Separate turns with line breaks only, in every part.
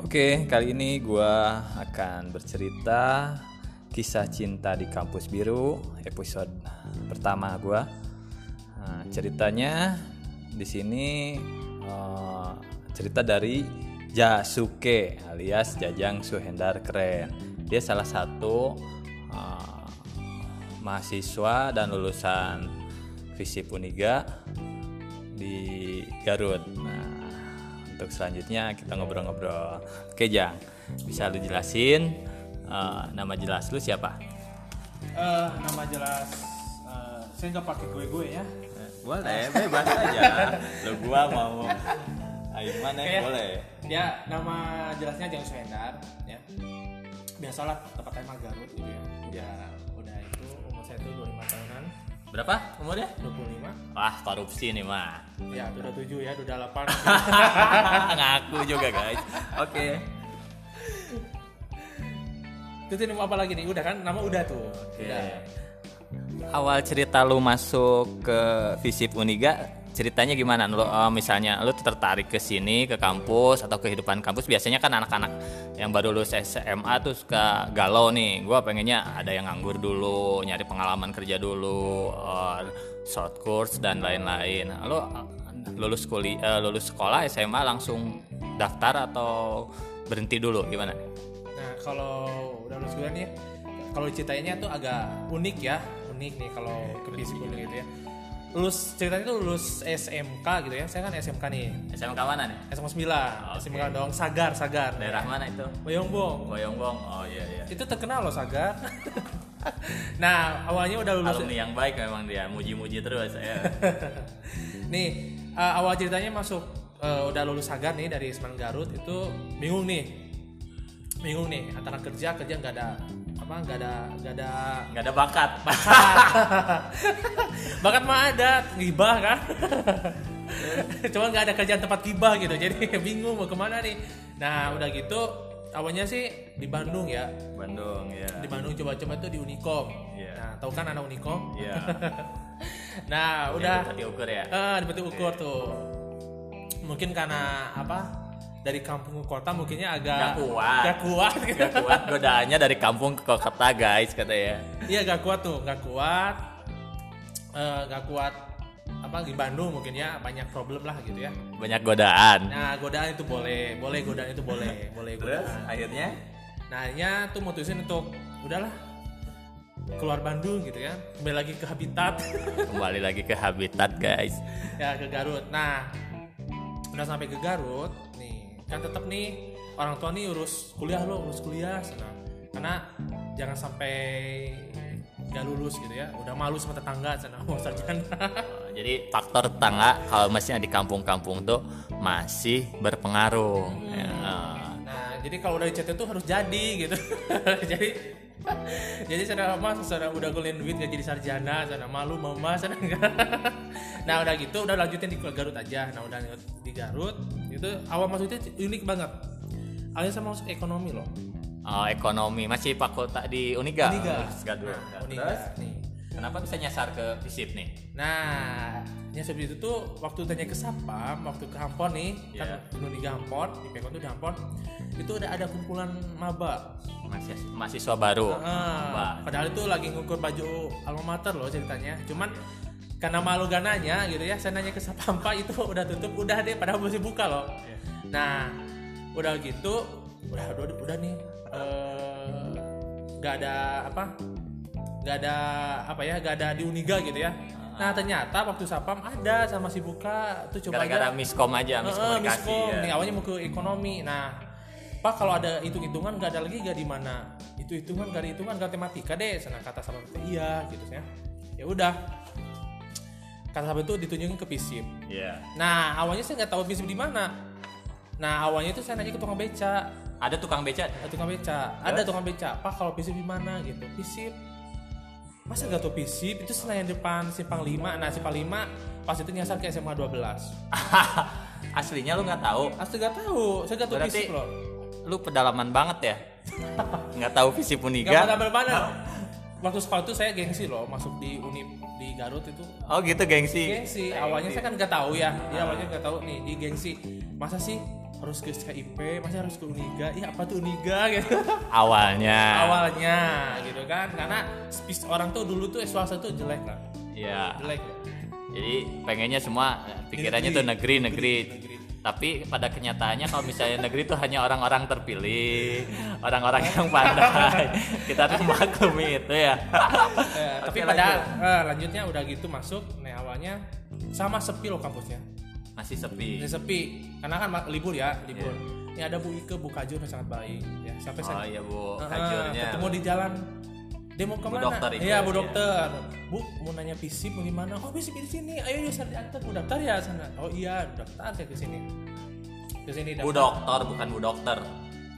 Oke, kali ini gua akan bercerita kisah cinta di kampus biru episode pertama gua. Nah, ceritanya di sini eh, cerita dari Jasuke alias Jajang Suhendar Keren. Dia salah satu eh, mahasiswa dan lulusan Visip Uniga di Garut. Nah, untuk selanjutnya kita ngobrol-ngobrol. Oke, Jang, bisa lu jelasin eh, nama jelas lu siapa?
Eh, nama jelas eh, saya nggak pakai gue gue ya
Boleh, bebas aja. Lu gua mau Aiman ya
Kayak-
boleh.
dia Ya, nama jelasnya Jang Suhendar ya biasalah tempatnya emang Garut gitu ya ya udah itu umur saya tuh 25 tahunan
Berapa umurnya?
25
Wah, korupsi nih mah.
ya udah 7 ya udah 8
Ngaku juga, guys. Oke.
itu tuh nama apa lagi nih udah kan nama udah tuh
Oke.
udah
Iya, Awal cerita lu masuk ke Visip Uniga ceritanya gimana? Lu, eh, misalnya lu tertarik ke sini ke kampus atau kehidupan kampus biasanya kan anak-anak yang baru lulus SMA tuh suka galau nih. Gua pengennya ada yang nganggur dulu, nyari pengalaman kerja dulu, eh, short course dan lain-lain. Lu eh, lulus kuliah eh, lulus sekolah SMA langsung daftar atau berhenti dulu gimana?
nah kalau udah lulus gue nih kalau ceritainnya tuh agak unik ya unik nih kalau ke fisik gitu ya lulus ceritanya tuh lulus SMK gitu ya saya kan SMK nih
SMA kawanan ya?
SMA 9, SMA dong, Sagar, Sagar.
Daerah mana itu?
Boyongbong.
Boyongbong. Oh iya iya.
Itu terkenal loh Sagar. nah, awalnya udah lulus
alumni yang baik memang dia muji-muji terus ya.
nih, eh, awal ceritanya masuk eh, udah lulus Sagar nih dari Semarang Garut itu bingung nih. Bingung nih antara kerja kerja nggak ada apa nggak ada nggak ada
nggak ada bakat
bakat mah ada gibah kan cuman nggak ada kerjaan tempat gibah gitu jadi bingung mau kemana nih nah udah gitu awalnya sih di Bandung ya
Bandung ya
di Bandung coba-coba tuh di Unicom.
Iya.
Nah, tahu kan anak Unicom?
ya
Nah, udah
tadi ukur ya
eh di Batu Ukur tuh. Mungkin karena apa? Dari kampung ke kota mungkinnya agak
Nggak kuat.
Gak kuat. gitu.
nggak kuat godaannya dari kampung ke kota guys kata ya
Iya, gak kuat tuh, gak kuat. Eh, gak kuat apa di Bandung mungkin ya banyak problem lah gitu ya.
banyak godaan
Nah, godaan itu boleh, boleh godaan itu boleh, boleh
terus
godaan.
akhirnya
Nah, akhirnya tuh mutusin untuk udahlah keluar Bandung gitu ya. Kembali lagi ke habitat.
kembali lagi ke habitat guys
ya ke Garut. Nah, udah sampai ke Garut, nih kan tetap nih orang tua nih urus kuliah lo, urus kuliah sana. Karena jangan sampai nggak lulus gitu ya. Udah malu sama tetangga sana mau sarjana.
Oh, jadi faktor tetangga kalau misalnya di kampung-kampung tuh masih berpengaruh Ya.
Nah, jadi kalau udah dicetak tuh harus jadi gitu. jadi jadi saudara mas saudara udah golin duit gak jadi sarjana saudara malu mama saudara enggak nah udah gitu udah lanjutin di Garut aja nah udah lanjut di Garut itu awal masuknya unik banget awalnya sama masuk ekonomi loh
Oh, ekonomi masih fakultas di Uniga.
Uniga.
Gadul.
Nah, unik
Terus,
nih
kenapa bisa nyasar ke Visip nih?
Nah, yang seperti itu tuh waktu tanya ke Sapam, waktu ke Hampon nih,
Iya.
kan dulu di Hampon, di Pekon tuh di Hampon, itu udah ada kumpulan maba.
Mahasiswa, mahasiswa baru. Maba.
Ah, padahal itu lagi ngukur baju alma mater loh ceritanya. Cuman karena malu gak nanya gitu ya, saya nanya ke Sapampa itu udah tutup, udah deh, padahal masih buka loh. Nah, udah gitu, udah udah, udah nih, eh, nggak ada apa, nggak ada apa ya, nggak ada di Uniga gitu ya. Nah ternyata waktu Sapam ada sama si buka tuh coba aja-
gara-gara miskom aja
Heeh,
miskomunikasi
miskom.
ya.
Nih, awalnya mau ke ekonomi. Nah, Pak kalau ada hitung-hitungan nggak ada lagi nggak di mana? Itu hitungan nggak ada hitungan nggak tematika deh. Sana kata sama kita iya gitu ya. Ya udah. Kata sama itu ditunjukin ke PISIP.
Iya.
Nah awalnya saya nggak tahu PISIP di mana. Nah awalnya itu saya nanya ke tukang beca.
ada tukang beca
Ada tukang beca. Ada tukang beca. Pak kalau PISIP di mana gitu? PISIP. Masa nggak tahu PISIP? Itu Senayan depan Simpang 5. Nah Simpang 5 pas itu nyasar ke SMA 12.
aslinya lu nggak tahu
Asli gak tahu, saya gak tahu
Berarti-
fisip loh.
lu pedalaman banget ya nggak tahu visi
Gak
puniga
pernah mana. Waktu sekolah itu saya gengsi loh masuk di Unip di Garut itu.
oh gitu gengsi
Iya,
Ah.
Gengsi, awalnya saya kan gak tahu ya. Dia awalnya gak tahu nih, di gengsi. Masa sih harus ke SKIP masa harus ke Uniga iya apa tuh Uniga gitu
awalnya
awalnya gitu kan karena speech orang tuh dulu tuh swasta tuh jelek lah
ya
jelek
jadi pengennya semua eh, pikirannya tuh negeri negeri tapi pada kenyataannya kalau misalnya negeri tuh hanya orang-orang terpilih orang-orang yang pandai kita tuh maklumi itu ya
Eh, tapi
Oke,
pada eh, lanjutnya udah gitu masuk nih awalnya sama sepi loh kampusnya
masih sepi
Ini sepi karena kan ma- libur ya libur
Iya.
ini ada Bu Ike Bu Kajur yang sangat baik ya sampai
oh
saya
iya bu
Eh, eh,
kajurnya
ketemu di jalan dia mau kemana?
dokter Ike,
Iya, Bu
iya.
dokter. Bu mau nanya visip mau gimana? Oh, visip di sini. Ayo yuk saya diantar Bu daftar ya sana. Oh iya, daftar saya ke sini. Ke sini
bu
daftar.
dokter bukan bu dokter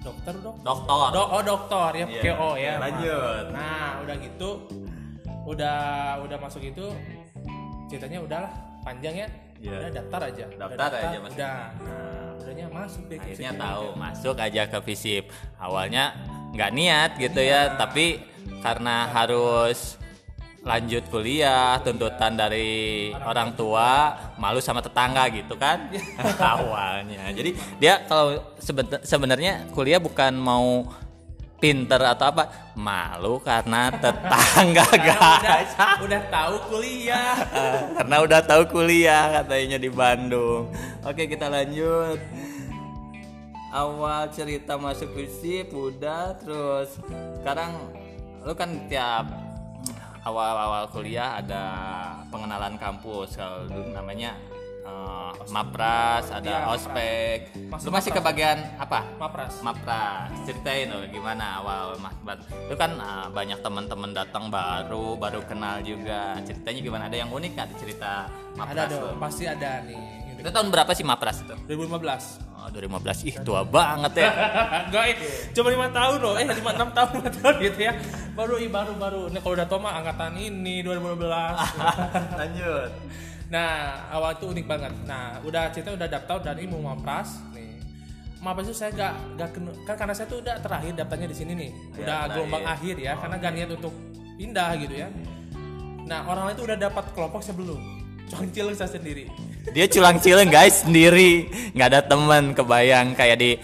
Dokter, dok.
dokter
Do- oh dokter ya pakai
Iya.
O ya.
Lanjut.
Nah udah gitu, udah udah masuk itu ceritanya udahlah panjang ya.
Iya.
Udah daftar aja. Udah
Daftar aja masuk.
Udah. Nah, udahnya masuk deh. ke
akhirnya
situ.
tahu masuk aja ke visip awalnya nggak niat gitu ya tapi karena harus lanjut kuliah tuntutan dari orang tua malu sama tetangga gitu kan awalnya jadi dia kalau sebet- sebenarnya kuliah bukan mau pinter atau apa malu karena tetangga
Karena udah,
guys
udah tahu kuliah.
Eh, karena udah tahu kuliah katanya di Bandung. Oke kita lanjut. Awal cerita masuk FISIP udah terus sekarang lu kan tiap awal-awal kuliah ada pengenalan kampus kalau dulu namanya eh, Mapras, ada
Iya,
ospek. Lu
Masuk
masih ke bagian apa?
Mapras.
Mapra, ceritain dong gimana awal Mahbat. Itu kan ah, banyak teman-teman datang baru, baru kenal juga. Ceritanya gimana? Ada yang unik nggak di cerita
ada
Mapras?
dong,
lo?
pasti ada nih.
Itu tahun berapa sih Mapras itu?
2015.
Oh, 2015. Ih, tua banget ya.
Enggak, eh, cuma lima tahun loh, eh lima enam tahun lima tahun gitu ya. Baru i baru baru. Nah kalau udah Toma angkatan ini 2012.
Lanjut.
Nah, awal itu unik banget. Nah, udah cerita udah daftar dan ini mau mapras nih. Mapras itu saya gak, gak kena- kan karena saya tuh udah terakhir daftarnya di sini nih.
Iya,
Udah
terakhir.
gelombang akhir ya, karena gak niat untuk pindah gitu ya. Nah, orang lain tuh udah dapat kelompok saya belum. Concil saya sendiri.
Dia culang-cileng guys sendiri, nggak ada temen kebayang kayak di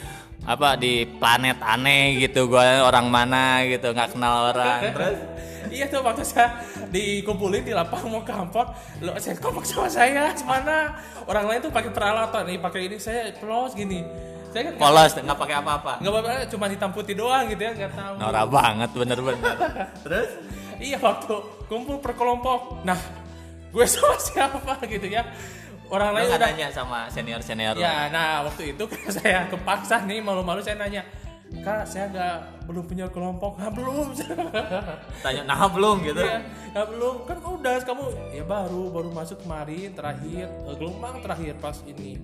apa di planet aneh gitu gua orang mana gitu nggak kenal orang terus
iya tuh waktu saya dikumpulin di lapang mau kampor lo saya kelompok sama saya mana orang lain tuh pakai peralatan nih pakai ini saya plus gini saya kan
polos nggak pakai apa-apa
nggak apa-apa cuma hitam putih doang gitu ya nggak tahu
Nora banget bener-bener terus
Iya waktu kumpul per kelompok. Nah, gue sama siapa gitu ya? Orang
Lu
lain
nggak
udah.
nanya sama senior senior
Ya, nah waktu itu karena saya kepaksa nih malu-malu saya nanya, kak saya nggak belum punya kelompok, nggak belum,
tanya nah belum gitu
ya, nggak belum. Kan kamu udah, kamu ya baru baru masuk kemarin terakhir eh, gelombang terakhir pas ini.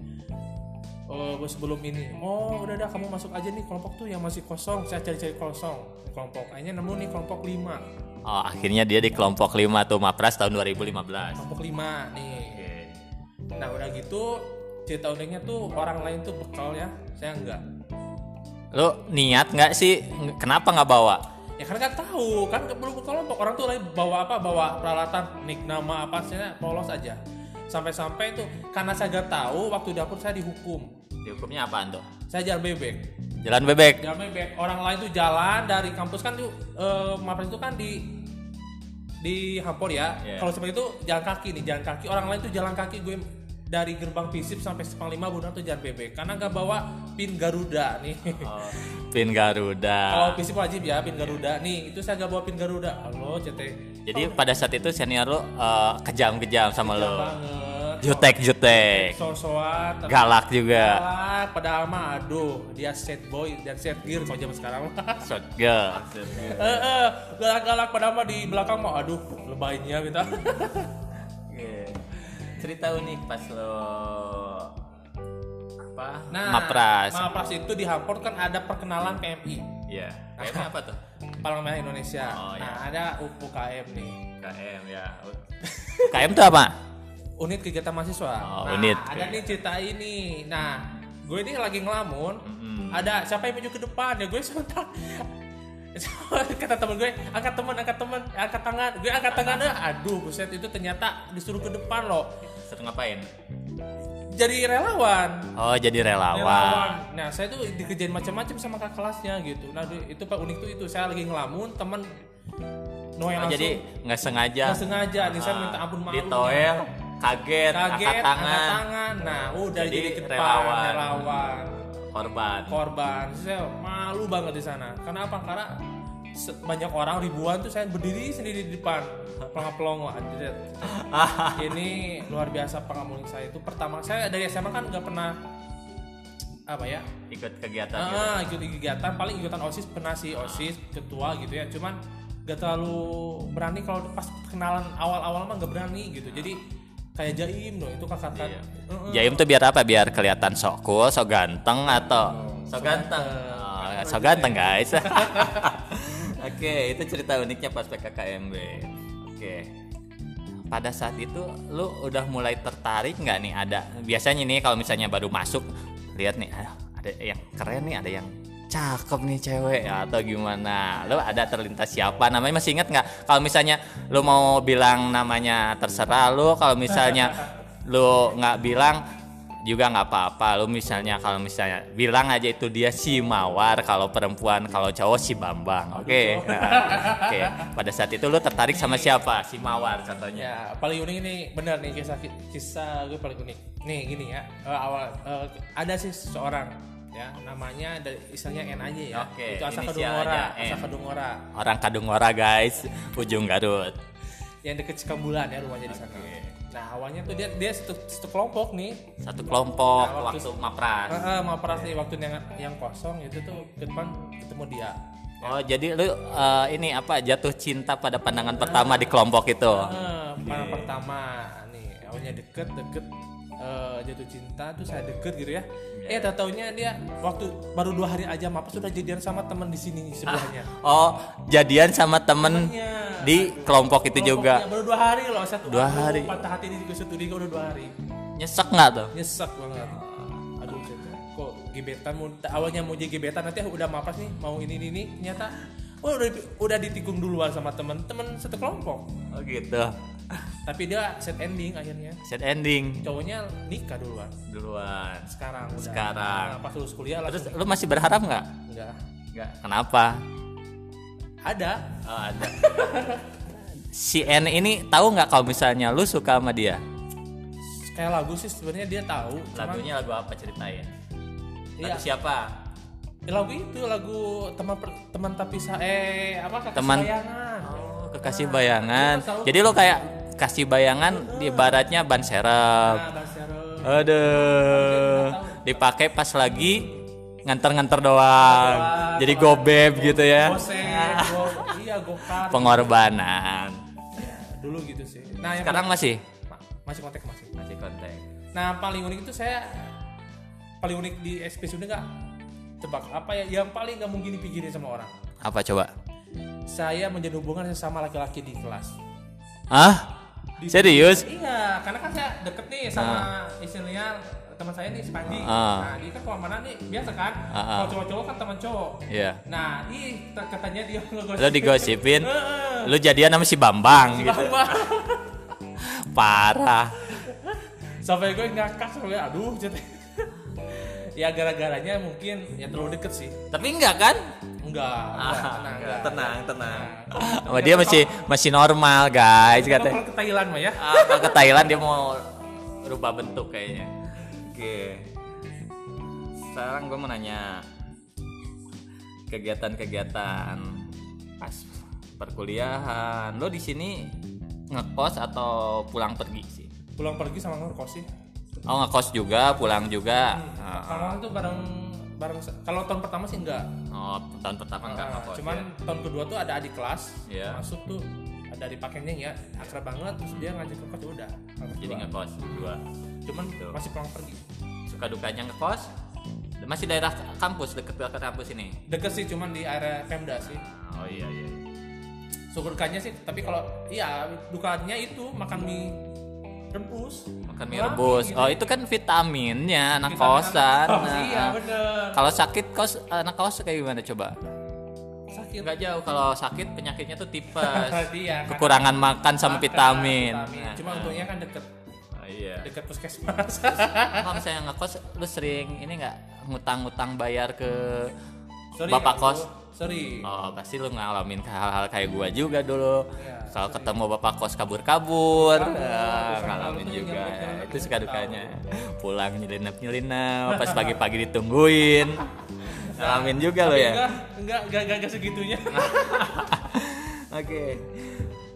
Oh, sebelum ini. Oh, udah dah kamu masuk aja nih kelompok tuh yang masih kosong. Saya cari-cari kosong kelompok. Akhirnya nemu nih kelompok 5.
oh akhirnya dia di kelompok 5 tuh Mapras tahun 2015
kelompok lima nih. Nah udah gitu cerita uniknya tuh orang lain tuh bekal ya, saya enggak.
lu niat nggak sih Ng- kenapa nggak bawa
Ya kan nggak tahu, kan ke- belum kelompok orang tuh lagi bawa apa, bawa peralatan, nick nama apa, saya polos aja. Sampai-sampai itu karena saya nggak tahu waktu dapur saya dihukum,
hukumnya apaan tuh
saya jalan bebek.
jalan bebek
Jalan bebek, orang lain tuh jalan dari kampus kan tuh eh, Mapres itu kan di di Hampor ya.
Iya.
Kalau seperti itu jalan kaki nih, jalan kaki orang lain tuh jalan kaki gue dari gerbang Fisip sampai Sepang 5 Bunda tuh jalan bebek karena nggak bawa pin Garuda nih.
Oh, pin Garuda
Kalau Fisip wajib ya pin Garuda. Nih, itu saya nggak bawa pin Garuda. Halo, CT.
jadi pada saat itu senior lu eh, kejam-kejam sama lu
Banget.
jutek-jutek
Sosoan, tapi
galak juga
galak. padahal mah aduh, dia set boy dan set gear kalau zaman sekarang. mah.
shot girl
Eh, eh, galak-galak padahal mah di belakang mah aduh lebaynya gitu.
cerita unik pas lo apa
Nah,
Mapras
Mapras itu di Hampor kan ada perkenalan PMI,
Iya. Kayaknya apa tuh?
Palang Merah Indonesia.
Oh, iya.
Nah, ada UPKM nih.
KM ya. KM tuh apa?
Unit kegiatan mahasiswa.
Oh,
nah,
unit.
ada nih cerita ini. Nah, gue ini lagi ngelamun, ada siapa yang maju ke depan ya gue sontak kata temen gue angkat temen angkat temen angkat tangan gue angkat tangan eh, aduh buset itu ternyata disuruh ke depan loh
Satu ngapain?
jadi relawan.
Oh jadi relawan.
Relawan. Nah, saya tuh dikerjain macam-macam sama kakak kelasnya gitu. Nah, di- itu Pak unik tuh itu saya lagi ngelamun, teman Noel
Oh,
langsung
jadi nggak sengaja.
nggak sengaja nih saya
Ah,
minta ampun maaf.
Ditoel, kaget,
kaget,
angkat tangan,
Nah, udah
Jadi
jadi, ke depan,
relawan.
relawan,
korban.
korban. Saya malu banget di sana. Karena apa? Karena se- banyak orang ribuan tuh saya berdiri sendiri di depan pelongo-pelongo anjir. ini luar biasa pengamulan saya itu pertama saya dari SMA kan nggak pernah apa ya
Ikut kegiatan. gitu.
Ah, ikut kegiatan paling ikutan osis pernah sih osis ketua gitu ya. Cuman gak terlalu berani kalau pas kenalan awal-awal mah gak berani gitu. Jadi kayak jaim loh itu kakak kakak.
Iya.
Heeh.
Jaim tuh biar apa? Biar kelihatan sok cool, sok ganteng atau sok ganteng. Oh, sok ganteng guys. Oke, itu cerita uniknya pas PKKMB. Oke. Pada saat itu lu udah mulai tertarik nggak nih ada biasanya nih kalau misalnya baru masuk lihat nih "Ah, ada yang keren nih, ada yang cakep nih cewek atau gimana lu ada terlintas siapa namanya masih ingat nggak kalau misalnya lu mau bilang namanya terserah lu kalau misalnya lu nggak bilang juga nggak apa-apa lu misalnya kalau misalnya bilang aja itu dia si mawar kalau perempuan kalau cowok si bambang oke Nah, oke pada saat itu lu tertarik sama siapa si mawar contohnya
Ya paling unik ini benar nih kisah kisah gue paling unik. Nih gini ya eh, awal eh, ada sih seseorang ya namanya dari istilahnya N aja ya.
Oke,
itu asal
inisial
Kedungora,
aja, N.
asal Kedungora
orang Kadungora guys ujung Garut
yang deket Cikambulan ya rumahnya di sana. Nah awalnya tuh dia dia satu, satu kelompok nih
satu kelompok
Nah, waktu-
waktu mapran
Heeh, mau operasi waktu yang yang kosong itu tuh ke depan ketemu dia.
oh jadi lu eh, ini apa jatuh cinta pada pandangan pertama di kelompok itu
Heeh, malam Eh, pertama nih awalnya deket deket eh, jatuh cinta tuh saya deket gitu ya.
Iya.
Eh tak taunya dia waktu baru dua hari aja mah sudah jadian sama teman di sini sebelahnya. Iya.
oh jadian sama temen di kelompok itu Ah. juga
Baru dua hari loh satu.
Dua
aduh,
hari.
Patah hati di situ dia udah dua hari.
nyesek nggak tuh
Nyesek banget. Aduh cinta. Kok gebetan mau awalnya mau jadi gebetan nanti udah mapas nih mau ini ini, ini. ternyata oh, udah udah ditikung duluan sama temen-temen satu kelompok.
oh gitu
Tapi dia set ending akhirnya.
set ending
Cowoknya nikah duluan.
duluan.
Sekarang udah.
Sekarang.
Nah, pas lulus kuliah
Terus
langsung
lu masih berharap nggak?
enggak.
Nggak. Kenapa?
Ada.
Oh, ada. si N ini tahu nggak kalau misalnya lu suka sama dia?
Kayak lagu sih sebenarnya dia tahu. cuman-
Lagunya lagu apa ceritanya?
Iya.
Lagu siapa?
Eh, lagu itu lagu teman per- teman tapi sa eh apa kakak
Teman-
sayangan.
Oh, kekasih bayangan.
Dia tahu.
Jadi lu kayak kasih bayangan di baratnya ban serep.
Nah, Bang Syarul.
Aduh. Dipakai pas lagi nganter-nganter doang. Jadi gobeb gitu ya.
Goseng, go, iya gokar.
Pengorbanan.
Dulu gitu sih. Nah, yang
Sekarang masih
Ma- masih kontak masih.
masih kontak.
Nah paling unik itu saya paling unik di SP sudah nggak tebak apa ya yang paling nggak mungkin dipikirin sama orang.
Apa coba?
Saya menjalin hubungan sama laki-laki di kelas.
Hah?
Di-
Serius?
Iya, karena kan saya deket nih sama istrinya teman saya nih si Panji.
Ah.
Nah dia kan kemana-mana nih biasa kan.
Ah, ah.
Kalau cowok-cowok kan teman cowok.
Iya.
Nah ih t- katanya dia ngegosip.
Lo digosipin,
Heeh.
lo jadian sama si Bambang gitu.
Bang, bang.
Parah.
sampai gue ngakak sampai aduh cet- ya gara-garanya mungkin ya terlalu deket sih
Tapi enggak kan?
enggak enggak, tenang enggak.
Ah, tenang, tenang. Sama dia masih masih normal, guys,
Kita
katanya.
kalau ke Thailand mah ya
Ah, kalau ke Thailand dia mau rubah bentuk kayaknya. Oke. Sekarang gue mau nanya kegiatan-kegiatan pas perkuliahan. Lo di sini ngekos atau pulang pergi sih?
pulang pergi sama ngekos sih
Oh ngekos juga, pulang juga.
sama tuh bareng bareng kalau tahun pertama sih enggak
Oh tahun pertama nggak
Nah,
ngekos.
cuman
ya?
tahun kedua tuh ada adik kelas
Iya.
masuk tuh ada di pakainya ya akrab banget terus dia ngajak ngekos ya udah tahun
jadi gitu.
kedua.
ngekos dua.
cuman
Betul.
masih pulang pergi
Suka dukanya ngekos. Masih daerah kampus deket deket kampus ini.
deket sih cuman di area Pemda sih
Oh iya iya.
syukurkannya sih tapi kalau iya dukanya itu makan mie rebus
Makan mie
Wah,
rebus.
gitu.
Oh itu kan vitaminnya anak
Vitamin
kosan.
anak kos,
Nah,
iya bener
Kalau sakit kos anak kos kayak gimana coba?
sakit
Nggak jauh kalau sakit penyakitnya tuh tipes.
Iya, kan.
Kekurangan makan sama vitamin.
Vitamin.
Nah,
cuma untungnya kan deket
oh, iya.
dekat puskesmas
Kalau misalnya ngekos, lu sering ini nggak ngutang-ngutang bayar ke
sorry
bapak
aku-
kos?
sorry
Oh, pasti lu ngalamin hal-hal kayak gua juga dulu.
Iya,
Soal ketemu bapak kos kabur-kabur,
Kabur,
Ah, ngalamin
kabur tuh
juga.
yang bener-bener
Itu
kita
suka
tahu.
dukanya. Pulang nyelinap-nyelinap, pas pagi-pagi ditungguin. Ngalamin juga lo ya.
enggak enggak enggak enggak, enggak segitunya
Oke.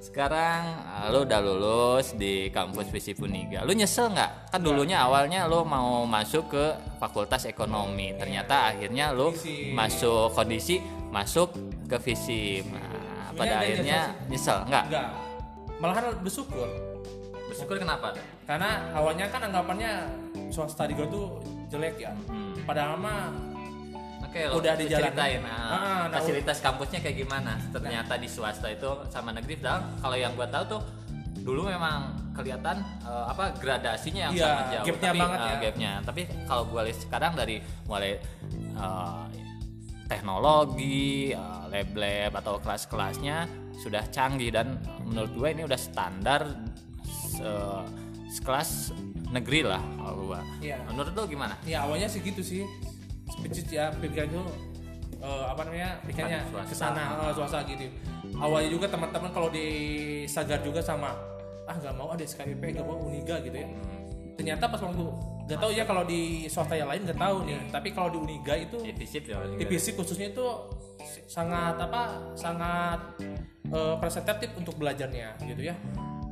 Sekarang ah, lu udah lulus di kampus Visi Puniga. Lu nyesel nggak? Kan dulunya awalnya lu mau masuk ke Fakultas Ekonomi. Ternyata akhirnya lu
Visi.
masuk kondisi masuk ke Visi. Nah,
Sebenarnya
pada
ada
akhirnya nyesel nggak?
enggak malahan bersyukur
Bersyukur kenapa?
karena awalnya kan anggapannya swasta di gua tuh jelek ya padahal mah
Oke, lo
Udah
udah
dijalanin.
diceritain ah,
Ah, nah,
fasilitas kampusnya kayak gimana. Ternyata di swasta itu sama negeri padahal kalau yang gua tahu tuh dulu memang kelihatan eh, apa gradasinya yang
Iya,
sangat jauh.
gapnya
tapi,
banget
eh,
ya.
gapnya. Tapi kalau gua lihat sekarang dari mulai eh, teknologi, eh, lab-lab atau kelas-kelasnya sudah canggih dan menurut gue ini udah standar se- sekelas negeri lah kalau gua.
Iya.
Menurut lo gimana?
ya awalnya sih gitu sih species ya pikiran tuh eh, apa namanya pikirannya
Swasta.
kesana eh, swasta gitu awalnya juga teman-teman kalau di Sagar juga sama ah nggak mau ada SKIP nggak mau Uniga gitu ya ternyata pas waktu nggak tahu ya kalau di swasta yang lain nggak tahu nih tapi kalau di Uniga itu
Defisit ya.
di PC khususnya itu sangat apa sangat eh, presentatif untuk belajarnya gitu ya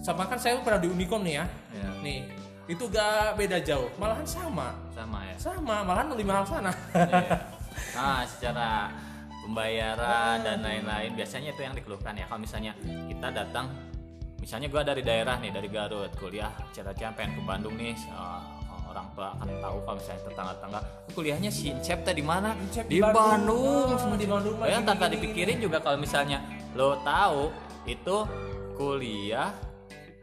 sama kan saya pernah di Unicom nih ya
Iya.
nih itu gak beda jauh malahan sama
Sama ya.
sama malahan lima hal sana
Nah, secara pembayaran dan lain-lain biasanya itu yang dikeluhkan ya. Kalau misalnya kita datang, misalnya gua dari daerah nih, dari Garut, kuliah, cita-cita pengen ke Bandung nih. eh, orang tua akan tahu kalau misalnya tetangga-tetangga "Lu kuliahnya si Incep teh di mana
Incep
di
di
Bandung
Bandung, ah, di Bandung mah
Bayang
gini,
tanpa
gini,
dipikirin juga kalau misalnya lo tahu itu kuliah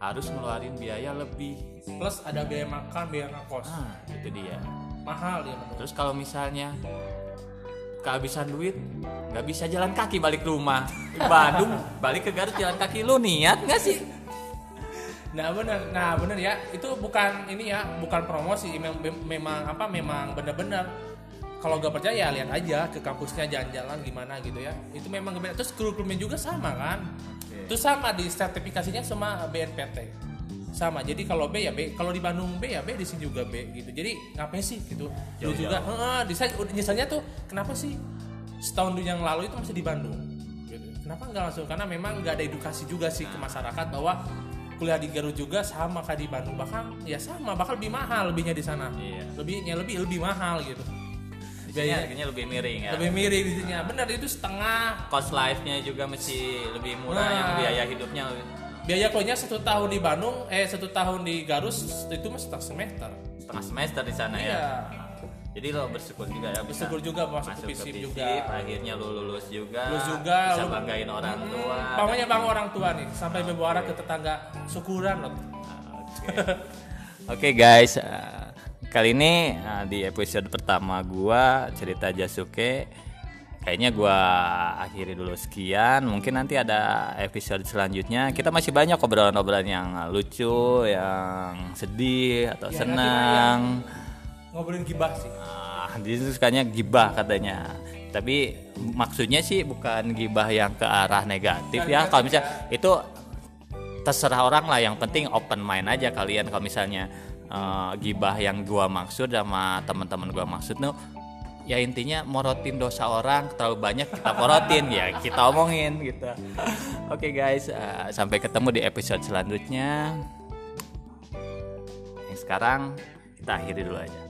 harus ngeluarin biaya lebih
plus ada biaya makan biaya ngekos
ah itu dia
mahal ya menurut
Terus kalau misalnya kehabisan duit, nggak bisa jalan kaki balik rumah. Di Bandung balik ke Garut jalan kaki lu niat nggak sih?
nah bener nah bener ya itu bukan ini ya bukan promosi memang memang apa memang bener-bener kalau gak percaya ya lihat aja ke kampusnya jalan-jalan gimana gitu ya itu memang beda terus kurikulumnya juga sama kan terus sama di sertifikasinya sama BNPT sama jadi kalau B ya B kalau di Bandung B ya B di sini juga B gitu jadi ngapain sih gitu Dulu
Jauh-jauh.
juga heeh di saya udah- nyeselnya tuh kenapa sih setahun yang lalu itu masih di Bandung gitu. kenapa nggak langsung karena memang nggak ada edukasi juga sih ke masyarakat bahwa kuliah di Garut juga sama kayak di Bandung bahkan ya sama bakal lebih mahal lebihnya di sana
Iya.
lebihnya lebih lebih mahal gitu
Di sini
Biayanya
harganya lebih miring ya.
lebih mirip di sini benar itu setengah
Cost life-nya juga masih lebih murah,
Nah.
yang biaya hidupnya lebih-
biaya kuliahnya satu tahun di Bandung eh satu tahun di Garut itu mah setengah semester
setengah semester di sana
iya
ya. Jadi lo bersyukur juga ya bisa
syukur juga
masuk
masuk, ke
ke
FISIP
FISIP,
juga
akhirnya lu lulus juga,
Lulus juga,
bisa
lu-
banggain orang tua.
Pamannya bang orang tua nih sampai berbuara ke tetangga syukuran loh
Oke guys, eh, kali ini eh, di episode pertama gua cerita Jasuke Kayaknya gua akhiri dulu sekian. Mungkin nanti ada episode selanjutnya. Kita masih banyak obrolan-obrolan yang lucu, yang sedih atau
Ya, nanti
senang.
ngobrolin gibah sih
Ah, dia tuh sukanya gibah katanya. Tapi maksudnya sih bukan gibah yang ke arah negatif
Bukan
ya.
negatif
Kalau misalnya itu terserah orang lah. Yang penting open mind aja kalian. Kalau misalnya eh, gibah yang gua maksud sama teman-teman gua maksud tuh ya intinya morotin dosa orang terlalu banyak kita morotin ya kita omongin gitu. Oke guys, eh, sampai ketemu di episode selanjutnya. Yang sekarang kita akhiri dulu aja.